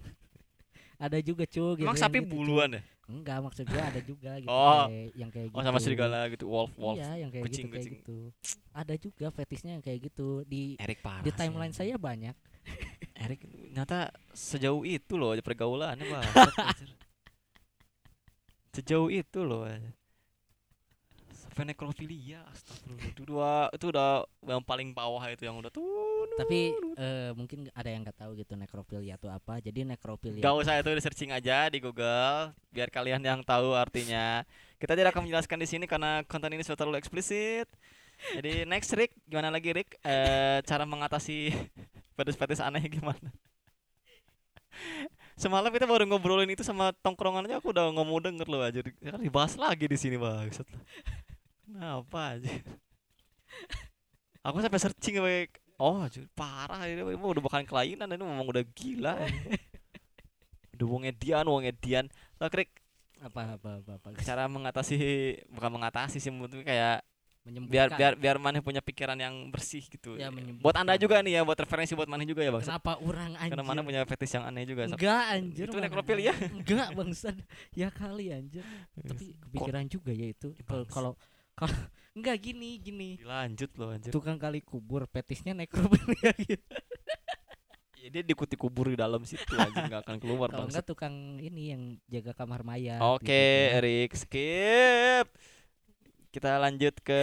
ada juga cuy gitu. emang sapi buluan ya Enggak, maksud gua ada juga gitu. Oh. kayak- yang kayak gitu. oh sama serigala gitu wolf wolf Iya, yang kayak Kucing, gitu, kayak kucing. gitu. Ada juga fetishnya yang kayak gitu di Erik parah di sih, timeline anjing. saya banyak. Erik ternyata sejauh itu loh pergaulannya bang <laughs> sejauh itu loh sampai nekrofilia astagfirullah itu dua itu udah yang paling bawah itu yang udah tuh Tapi eh, mungkin ada yang nggak tahu gitu nekrofilia itu apa. Jadi nekrofilia Gak usah itu di searching aja di Google biar kalian yang tahu artinya. Kita tidak akan menjelaskan di sini karena konten ini sudah terlalu eksplisit. Jadi next Rick, gimana lagi Rick? Eh, cara mengatasi <laughs> pedes-pedes aneh gimana? <laughs> Semalam kita baru ngobrolin itu sama tongkrongan aja aku udah nggak mau denger loh aja. Kan dibahas lagi di sini bang. Kenapa aja? Aku sampai searching sampai oh anjir, parah ini ini udah bukan kelainan ini memang udah gila. ini. Udah wong edian, wong edian. Lah krik apa apa apa, apa. cara mengatasi bukan mengatasi sih menurut kayak biar Menyembuhkan. biar biar maneh punya pikiran yang bersih gitu. Ya, buat Anda juga menyembuhkan. nih ya, buat referensi buat maneh juga ya, Bang. Kenapa orang anjir? Karena maneh punya fetish yang aneh juga. Sob. Enggak anjir. Itu ya. mana nekrofilia. ada. Enggak bangsat. Ya kali anjir. Tapi kepikiran juga ya itu. Kalau- Iya. bangsat. Kalau kalau enggak gini gini. Dilanjut loh anjir. Tukang kali kubur petisnya nekrofilia gitu. Ya, dia dikutik kubur di dalam situ <laughs> aja nggak akan keluar Kalau Bang. enggak tukang ini yang jaga kamar mayat. Oke, gitu. Erik, skip. Kita lanjut <laughs> ke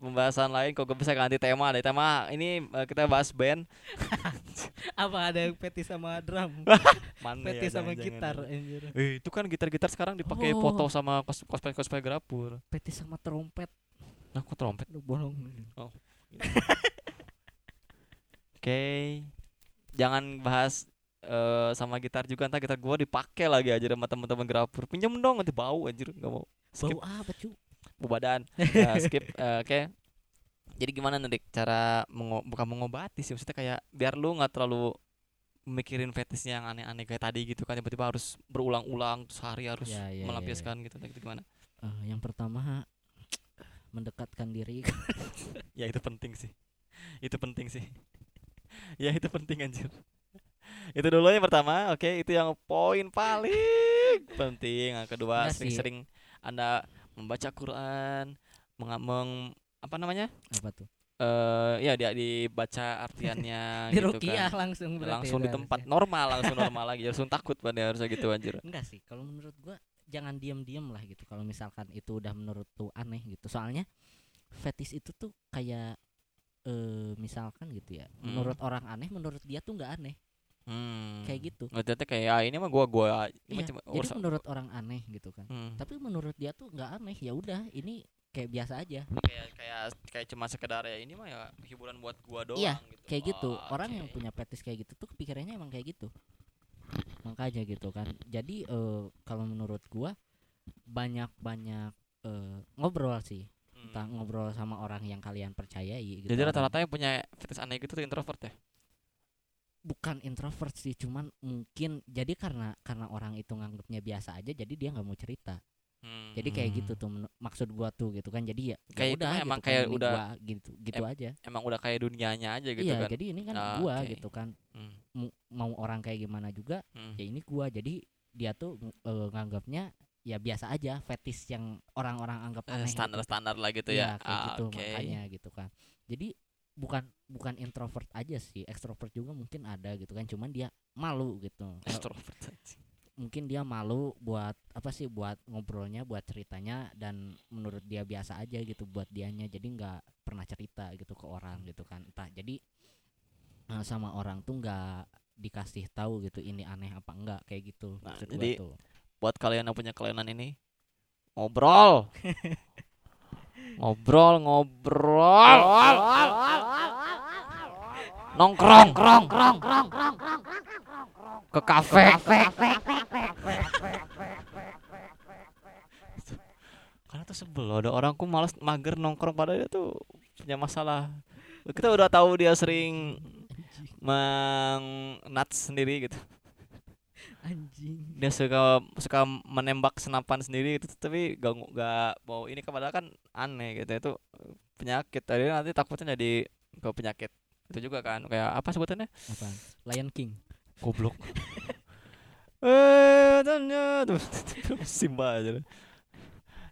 pembahasan lain. Kok gue bisa ganti tema deh. Tema ini eh, kita bahas band. Apa ada yang petis sama <laughs> drum? Mana ya, petis sama jangan-jangan gitar ada. anjir. Eh, itu kan gitar-gitar sekarang dipakai Oh. foto sama cos- cosplay-cosplay grapur. Petis sama trompet Nah, kok trompet? lu bolong. Oke. Jangan bahas eh, sama gitar juga ntar gitar gua dipakai lagi aja sama teman-teman grapur. Pinjam dong nanti bau anjir, nggak mau. Skip. Bau apa, cu? Bau <laughs> badan. Eh, skip. Eh, Oke. Jadi gimana nih Dik, cara mengo- bukan mengobati sih maksudnya kayak biar lu nggak terlalu mikirin fetishnya yang aneh-aneh kayak tadi gitu kan tiba-tiba harus berulang-ulang sehari harus Ya, ya, ya, ya. melampiaskan gitu gitu gimana? Eh, yang pertama mendekatkan diri <laughs> ke- ya itu penting sih itu penting sih ya itu penting anjir itu dulu yang pertama oke itu yang poin paling penting yang kedua Enggak sih. sering-sering anda membaca Quran menga- meng- apa namanya apa tuh? eh ya dia dibaca <laughs> artiannya di gitu Rukiah kan. langsung berarti ya. langsung di itu tempat harusnya. normal <laughs> langsung normal lagi langsung takut pada harusnya gitu anjir enggak sih kalau menurut gua jangan diam-diam lah gitu kalau misalkan itu udah menurut tuh aneh gitu soalnya fetish itu tuh kayak eh misalkan gitu ya Hmm. menurut orang aneh menurut dia tuh nggak aneh hmm. kayak gitu Maksudnya kayak "Ah, ini mah gua gua ini oh, mah Iya, cuma jadi urusan- menurut orang aneh gitu kan Hmm. tapi menurut dia tuh nggak aneh ya udah ini kayak biasa aja kayak kayak kayak cuma sekedar ya ini mah ya hiburan buat gua doang Iya, gitu. kayak gitu Oh, orang yang oke. punya petis kayak gitu tuh pikirannya emang kayak gitu makanya gitu kan jadi eh, kalau menurut gua banyak banyak ngobrol sih Hmm. tentang ngobrol sama orang yang kalian percayai gitu Jadi orang- rata-rata yang punya fetish aneh gitu tuh introvert ya. bukan introvert sih cuman mungkin jadi karena karena orang itu nganggapnya biasa aja jadi dia nggak mau cerita Hmm. jadi kayak gitu tuh menu- maksud gua tuh gitu kan jadi ya ya Kayak itu udah mah emang gitu kan, kayak ini udah- gua gitu gitu aja Hmm. Emang udah kayak dunianya aja gitu iya kan. jadi ini kan Ah, gua oke. gitu kan Hmm. Mu- mau orang kayak gimana juga Hmm. ya ini gua jadi dia tuh mm, eh, nganggapnya ya biasa aja fetish yang orang-orang anggap Eh, aneh gitu. Standar-standar lah gitu ya. Iya, kayak Ah, gitu oke. makanya gitu kan jadi bukan bukan introvert aja sih ekstrovert juga mungkin ada gitu kan cuman dia malu gitu Kalau- Extrovert. anjing. mungkin dia malu buat apa sih buat ngobrolnya buat ceritanya dan menurut dia biasa aja gitu buat dianya jadi nggak pernah cerita gitu ke orang gitu kan entah jadi eh, sama orang tuh nggak dikasih tahu gitu ini aneh apa enggak kayak gitu Nah, maksud gua jadi- tuh. Buat kalian yang punya kelainan ini ngobrol. ngobrol, ngobrol. Nongkrong, krong, krong, krong, krong, krong, krong, krong. ke kafe. Karena tuh sebel loh, ada orang ku malas mager nongkrong padahal dia tuh punya masalah. Kita udah tahu dia sering meng nuts sendiri gitu. anjing Dia suka suka menembak senapan sendiri gitu, tapi gak ngu- gak mau ini kan padahal kan aneh gitu itu penyakit. Tadi nanti takutnya jadi ke penyakit itu juga kan kayak apa sebutannya apa Lion King goblok <laughs> eh tanya terus <laughs> Simba aja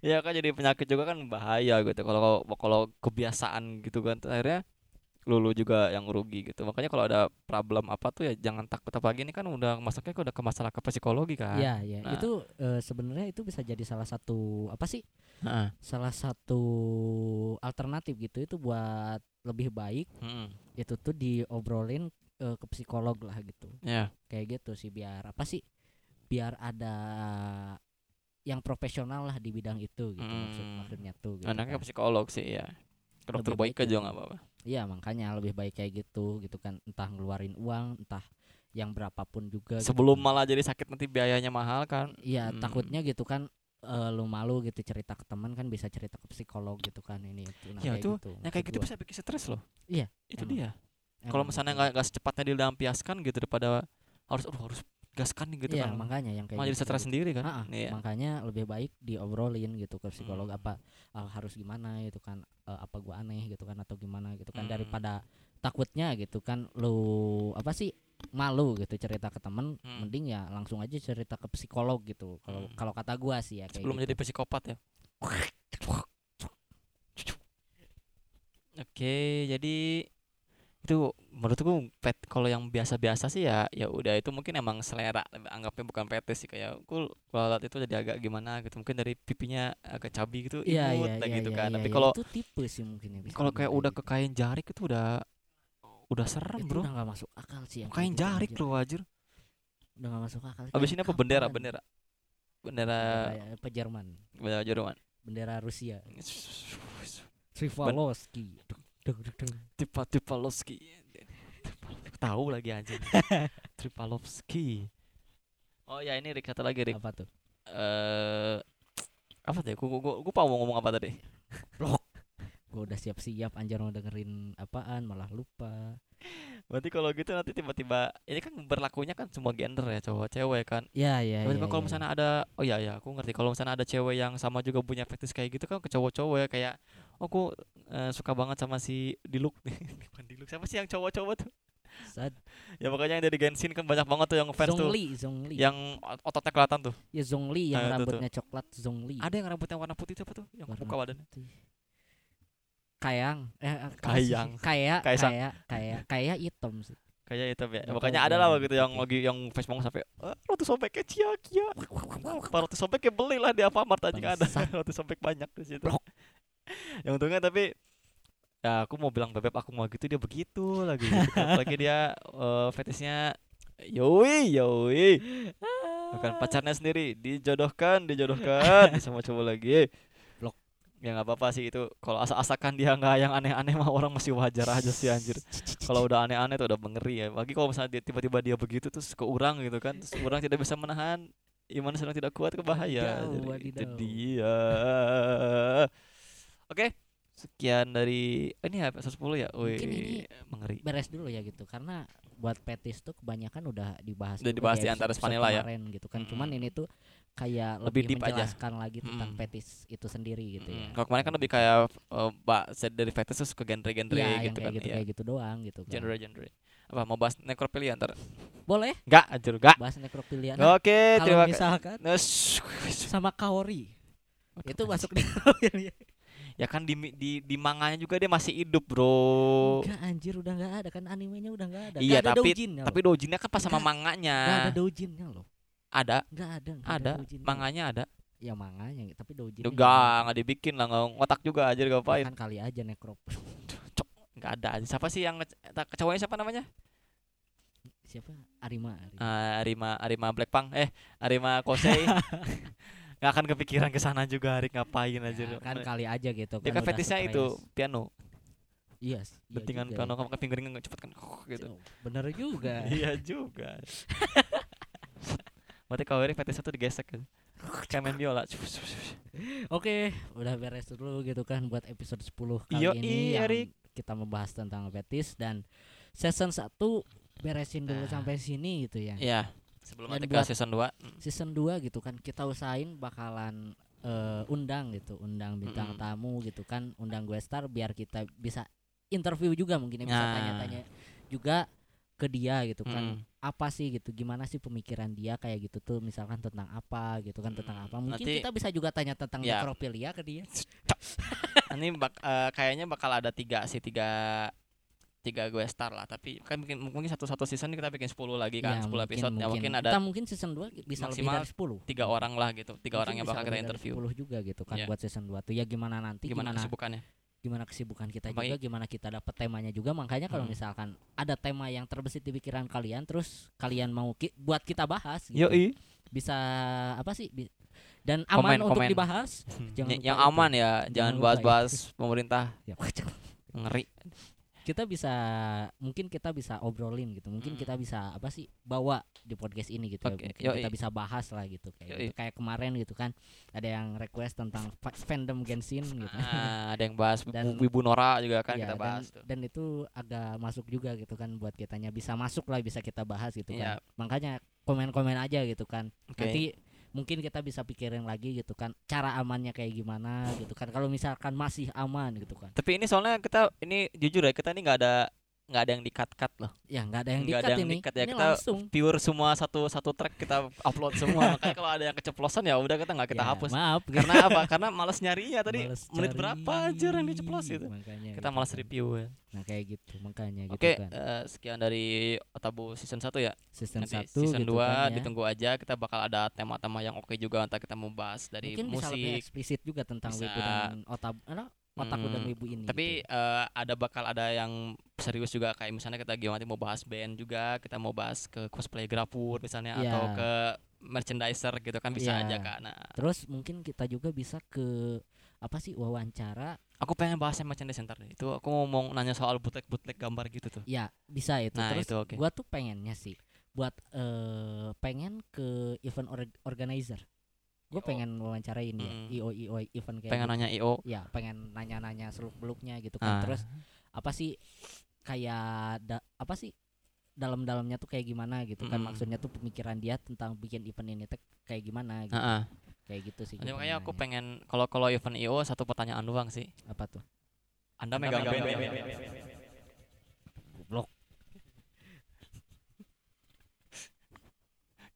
ya kan jadi penyakit juga kan bahaya gitu kalau kalau- kalau kebiasaan gitu kan akhirnya lulu juga yang rugi gitu makanya kalau ada problem apa tuh ya jangan takut apalagi ini kan udah masuknya ke- udah ke masalah ke psikologi kan Iya, iya. Nah. Itu eh, sebenarnya itu bisa jadi salah satu apa sih? Heeh. Salah satu alternatif gitu itu buat lebih baik Mm-mm. itu tuh diobrolin eh, ke psikolog lah gitu. Iya. Kayak gitu sih biar apa sih? Biar ada yang profesional lah di bidang itu gitu maksud Hmm. maksudnya tuh gitu. anaknya kan. ke psikolog sih ya ke dokter Boyke Lebih juga baik ya. nggak apa-apa Iya, makanya lebih baik kayak gitu gitu kan entah ngeluarin uang, entah yang berapapun juga gitu sebelum kan. malah jadi sakit nanti biayanya mahal kan Iya Hmm. takutnya gitu kan eh, lu malu gitu cerita ke teman kan bisa cerita ke psikolog gitu kan ini itu nah, Ya, kayak itu, gitu. nah kayak maksud gitu gua. bisa bikin stres loh Iya, itu emang. dia Emang kalau misalnya gitu. nggak nggak secepatnya dilampiaskan gitu daripada harus aduh harus gaskan nih gitu Iya, kan makanya yang kayak malah jadi gitu, stres gitu. sendiri kan Ah, ah, iya makanya lebih baik diobrolin gitu ke psikolog Hmm. apa eh, harus gimana gitu kan eh, apa gua aneh gitu kan atau gimana gitu kan Hmm. daripada takutnya gitu kan lu apa sih malu gitu cerita ke temen Hmm. mending ya langsung aja cerita ke psikolog gitu kalau Hmm. kalau kata gua sih ya kayak sebelum gitu. jadi psikopat ya oke jadi itu menurutku pet kalau yang biasa-biasa sih ya ya udah itu mungkin emang selera anggapnya bukan fetish sih kayak aku kalau lihat itu jadi agak gimana gitu mungkin dari pipinya agak cabi gitu Iya, imut iya, lah iya, gitu iya, kan iya, tapi iya. kalau itu tipe sih mungkin ya bisa kalau dibilang kayak udah gitu. ke kain jarik itu udah udah serem itu bro udah gak masuk akal sih yang kain kayak gitu, jarik anjir. loh wajir udah gak masuk akal Abis Kayak ini apa bendera? kapan? Bendera. Bendera Bendera, ya. apa Jerman bendera Jerman. bendera Rusia Trivalovski Deng, deng, deng. Tipa Tipalovski. Tahu lagi <laughs> anjing. Tripalovski. Oh ya ini Rick kata lagi Rick. apa tuh Eh apa tadi? Gua gua gua lupa mau ngomong apa tadi? gue udah siap-siap anjir mau dengerin apaan malah lupa Berarti kalau gitu nanti tiba-tiba ini kan berlakunya kan semua gender ya cowok cewek kan. ya ya ya, Tiba-tiba ya, kalau ya. misalnya ada oh iya ya aku ngerti kalau misalnya ada cewek yang sama juga punya fetish kayak gitu kan ke cowok-cowok ya, kayak oh aku eh, suka banget sama si Diluk <laughs> nih. Bukan Diluk. Siapa sih yang cowok-cowok tuh? Sad. Ya makanya yang dari Genshin kan banyak banget tuh yang fans tuh Zhongli Zhongli yang ot- ototnya kelihatan tuh. ya Zhongli Nah, itu yang tuh. rambutnya coklat Zhongli Ada yang rambutnya Iya. warna putih tuh apa tuh? Yang Warna kebuka badannya. putih. kayang eh, apa sih? Kayang. kaya Kaisang. kaya kaya kaya item sih Kayaknya itu ya. Nggak Makanya tahu ada lah gua. waktu itu yang lagi yang Facebook sampai "Eh, roti sobeknya cia cia. Pak roti sobeknya belilah di Alfamart anjing ada. Bangsat. <laughs> roti sobek banyak di situ. Blok. <laughs> yang untungnya tapi ya aku mau bilang bebek aku mau gitu dia begitu <laughs> lagi. lagi dia eh, fetishnya yoi yoi. Bukan pacarnya sendiri dijodohkan <laughs> dijodohkan sama cowok lagi. Blok. Ya nggak apa-apa sih itu. Kalau asa-asakan dia nggak yang aneh-aneh mah orang masih wajar aja sih anjir kalau udah aneh-aneh tuh udah mengeri ya lagi kalau misalnya dia tiba-tiba dia begitu terus ke orang gitu kan terus orang tidak bisa menahan iman sedang tidak kuat kebahaya Wadidaw, jadi, wadidaw. jadi ya oke sekian dari eh, ini ya 110 ya Wih, Mungkin ini- mengeri beres dulu ya gitu karena buat petis tuh kebanyakan udah dibahas Udah juga dibahas di episode- antara episode Spanila ya? kemarin gitu kan cuman Mm-mm. ini tuh kayak Lebih lebih, deep aja. menjelaskan lagi tentang Mm-mm. petis itu sendiri gitu ya Mm, kalau kemarin kan lebih kayak eh, mbak set dari fetish terus ke genre-genre ya, yang gitu kayak kan gitu iya. kayak gitu doang gitu kan. genre-genre apa mau bahas nekrofilia ntar boleh enggak anjir enggak bahas nekrofilia Nah, oke terima kalau kasih misalkan sama kaori <laughs> itu masuk nekrofilia ya kan di di di manganya juga dia masih hidup bro enggak anjir udah nggak ada kan animenya udah nggak ada Oh. Iya, Nggak ada tapi- doujinnya Tapi dojinnya kan pas sama Enggak. loh. Nggak ada manganya. doujinnya loh Ada, nggak ada nggak ada. doujinnya. Manganya ada. ya manganya tapi doujinnya nggak Enggak, enggak dibikin lah, enggak otak juga aja ada. Ya ngapain. kan kali aja nekrop <laughs> kan? Enggak ada aja. Siapa sih yang nge- ta- cowoknya siapa namanya? siapa Arima, Arima. Eh, Arima Arima Blackpunk eh Arima Kosei. <laughs> Enggak akan kepikiran ke sana juga Arik ngapain aja. Ya, kan kali aja gitu dia kan kan udah fetishnya stres. itu piano, Iya s- iya detingan juga piano ya. kamu ke fingering nggak cepet kan <laughs> gitu. Oh, bener juga <laughs> Iya juga. Berarti kalau Arik fetishnya tuh digesek <laughs> kan. Kayak main biola. Iya. Oke, udah beres dulu gitu kan buat episode 10 kali Yoi, ini yang Erik. kita membahas tentang betis dan season 1 beresin dulu Nah. sampai sini gitu ya. Iya. Sebelum Dan nanti ke buat- season 2 Season 2 gitu kan kita usahain bakalan eh, undang gitu, undang bintang Mm-mm. tamu gitu kan, undang gue star biar kita bisa interview juga mungkin ya, bisa Nah. tanya-tanya juga ke dia gitu kan. Mm. apa sih gitu gimana sih pemikiran dia kayak gitu tuh misalkan tentang apa gitu kan tentang Hmm, apa mungkin nanti- kita bisa juga tanya tentang Ya. nekrofilia ke dia ini bak- eh, kayaknya bakal ada tiga sih tiga tiga gue star lah tapi kan mungkin mungkin satu satu season kita bikin 10 lagi kan Ya, 10 episode ya mungkin ada kita mungkin season 2 bisa lebih maksimal dari 10 tiga orang lah gitu tiga Mungkin orang yang bisa bakal kita lebih dari interview 10 juga gitu kan Ya. buat season 2 tuh ya gimana nanti gimana gimana gimana, kesibukannya kesibukan kita Apa- juga gimana kita dapat temanya juga makanya kalau Hmm. misalkan ada tema yang terbesit di pikiran kalian terus kalian mau ki- buat kita bahas gitu. yoi bisa apa sih Bi- dan Komen, aman untuk komen. <laughs> dibahas yang, Jangan lupa yang itu. aman ya jangan lupa bahas-bahas pemerintah Ya. <laughs> ngeri kita bisa mungkin kita bisa obrolin gitu mungkin Mm. kita bisa apa sih bawa di podcast ini gitu Oke, ya mungkin yoi. kita bisa bahas lah gitu kayak Yoi. gitu. kayak kemarin gitu kan ada yang request tentang fa- fandom Genshin gitu Ah, ada yang bahas Dan- Wibu- Wibu Nora juga kan Iya, kita dan- bahas tuh dan, itu agak masuk juga gitu kan buat kitanya bisa masuk lah bisa kita bahas gitu Iya. kan makanya komen-komen aja gitu kan Oke. nanti mungkin kita bisa pikirin lagi gitu kan cara amannya kayak gimana gitu kan kalau misalkan masih aman gitu kan tapi ini soalnya kita ini jujur ya kita ini nggak ada nggak ada yang di cut cut loh ya nggak ada yang Nggak dikat ada yang ini di-cut ya, ini kita langsung pure semua satu satu track kita upload semua <laughs> makanya kalau ada yang keceplosan ya udah kita nggak kita Ya, hapus maaf karena apa karena malas nyarinya tadi Males menit cari, berapa aja yang diceplos gitu makanya kita gitu malas kan. review ya. nah kayak gitu makanya gitu oke kan eh, sekian dari Otabu season 1 ya season nanti satu season 2 gitu kan ya. ditunggu aja kita bakal ada tema-tema yang oke juga entah kita mau bahas dari mungkin bisa lebih musik eksplisit juga tentang bisa. wibu dan otak apa, otakku dan Hmm, wibu ini tapi gitu. eh, ada bakal ada yang serius juga kayak misalnya kita gimana mau bahas band juga kita mau bahas ke cosplay grafur misalnya atau Iya. ke merchandiser gitu kan bisa Iya. aja kan nah, terus mungkin kita juga bisa ke apa sih wawancara aku pengen bahas yang merchandise ntar deh. itu aku mau, mau nanya soal bootleg bootleg gambar gitu tuh ya bisa itu nah terus itu oke gua tuh pengennya sih buat eh pengen ke event or- organizer gue IO. pengen wawancarain ya Mm. io io event kayak pengen gitu. nanya io ya pengen nanya-nanya seluk beluknya gitu Ah. kan terus apa sih kayak da- apa sih dalam-dalamnya tuh kayak gimana gitu kan Mm-mm. maksudnya tuh pemikiran dia tentang bikin event ini tuh kayak gimana gitu Heeh. kayak gitu sih Jadi Ah. gua makanya aku pengen pengen kalau kalau event IO satu pertanyaan doang sih. nanya. apa tuh Anda megang band iya. goblok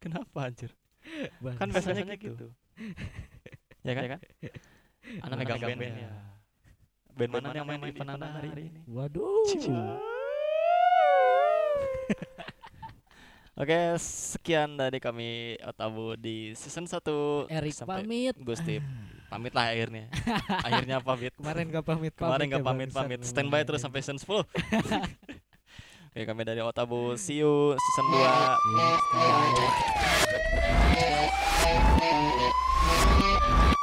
Kenapa anjir? Kan Bangsat. biasanya Iya kan? gitu. ya kan? Anda megang band. ya. Band mana yang main di Penana hari ini? Waduh. Oke, sekian dari kami Otabu di season 1 Erik pamit. Gusti pamit lah akhirnya. <laughs> akhirnya pamit. Ah. Kemarin gak pamit Kemarin ya, nggak bangsat pamit-pamit. memang Standby ya, terus ya. sampai season <laughs> 10. Oke, kami dari Otabu. See you season 2. Yes, thank you.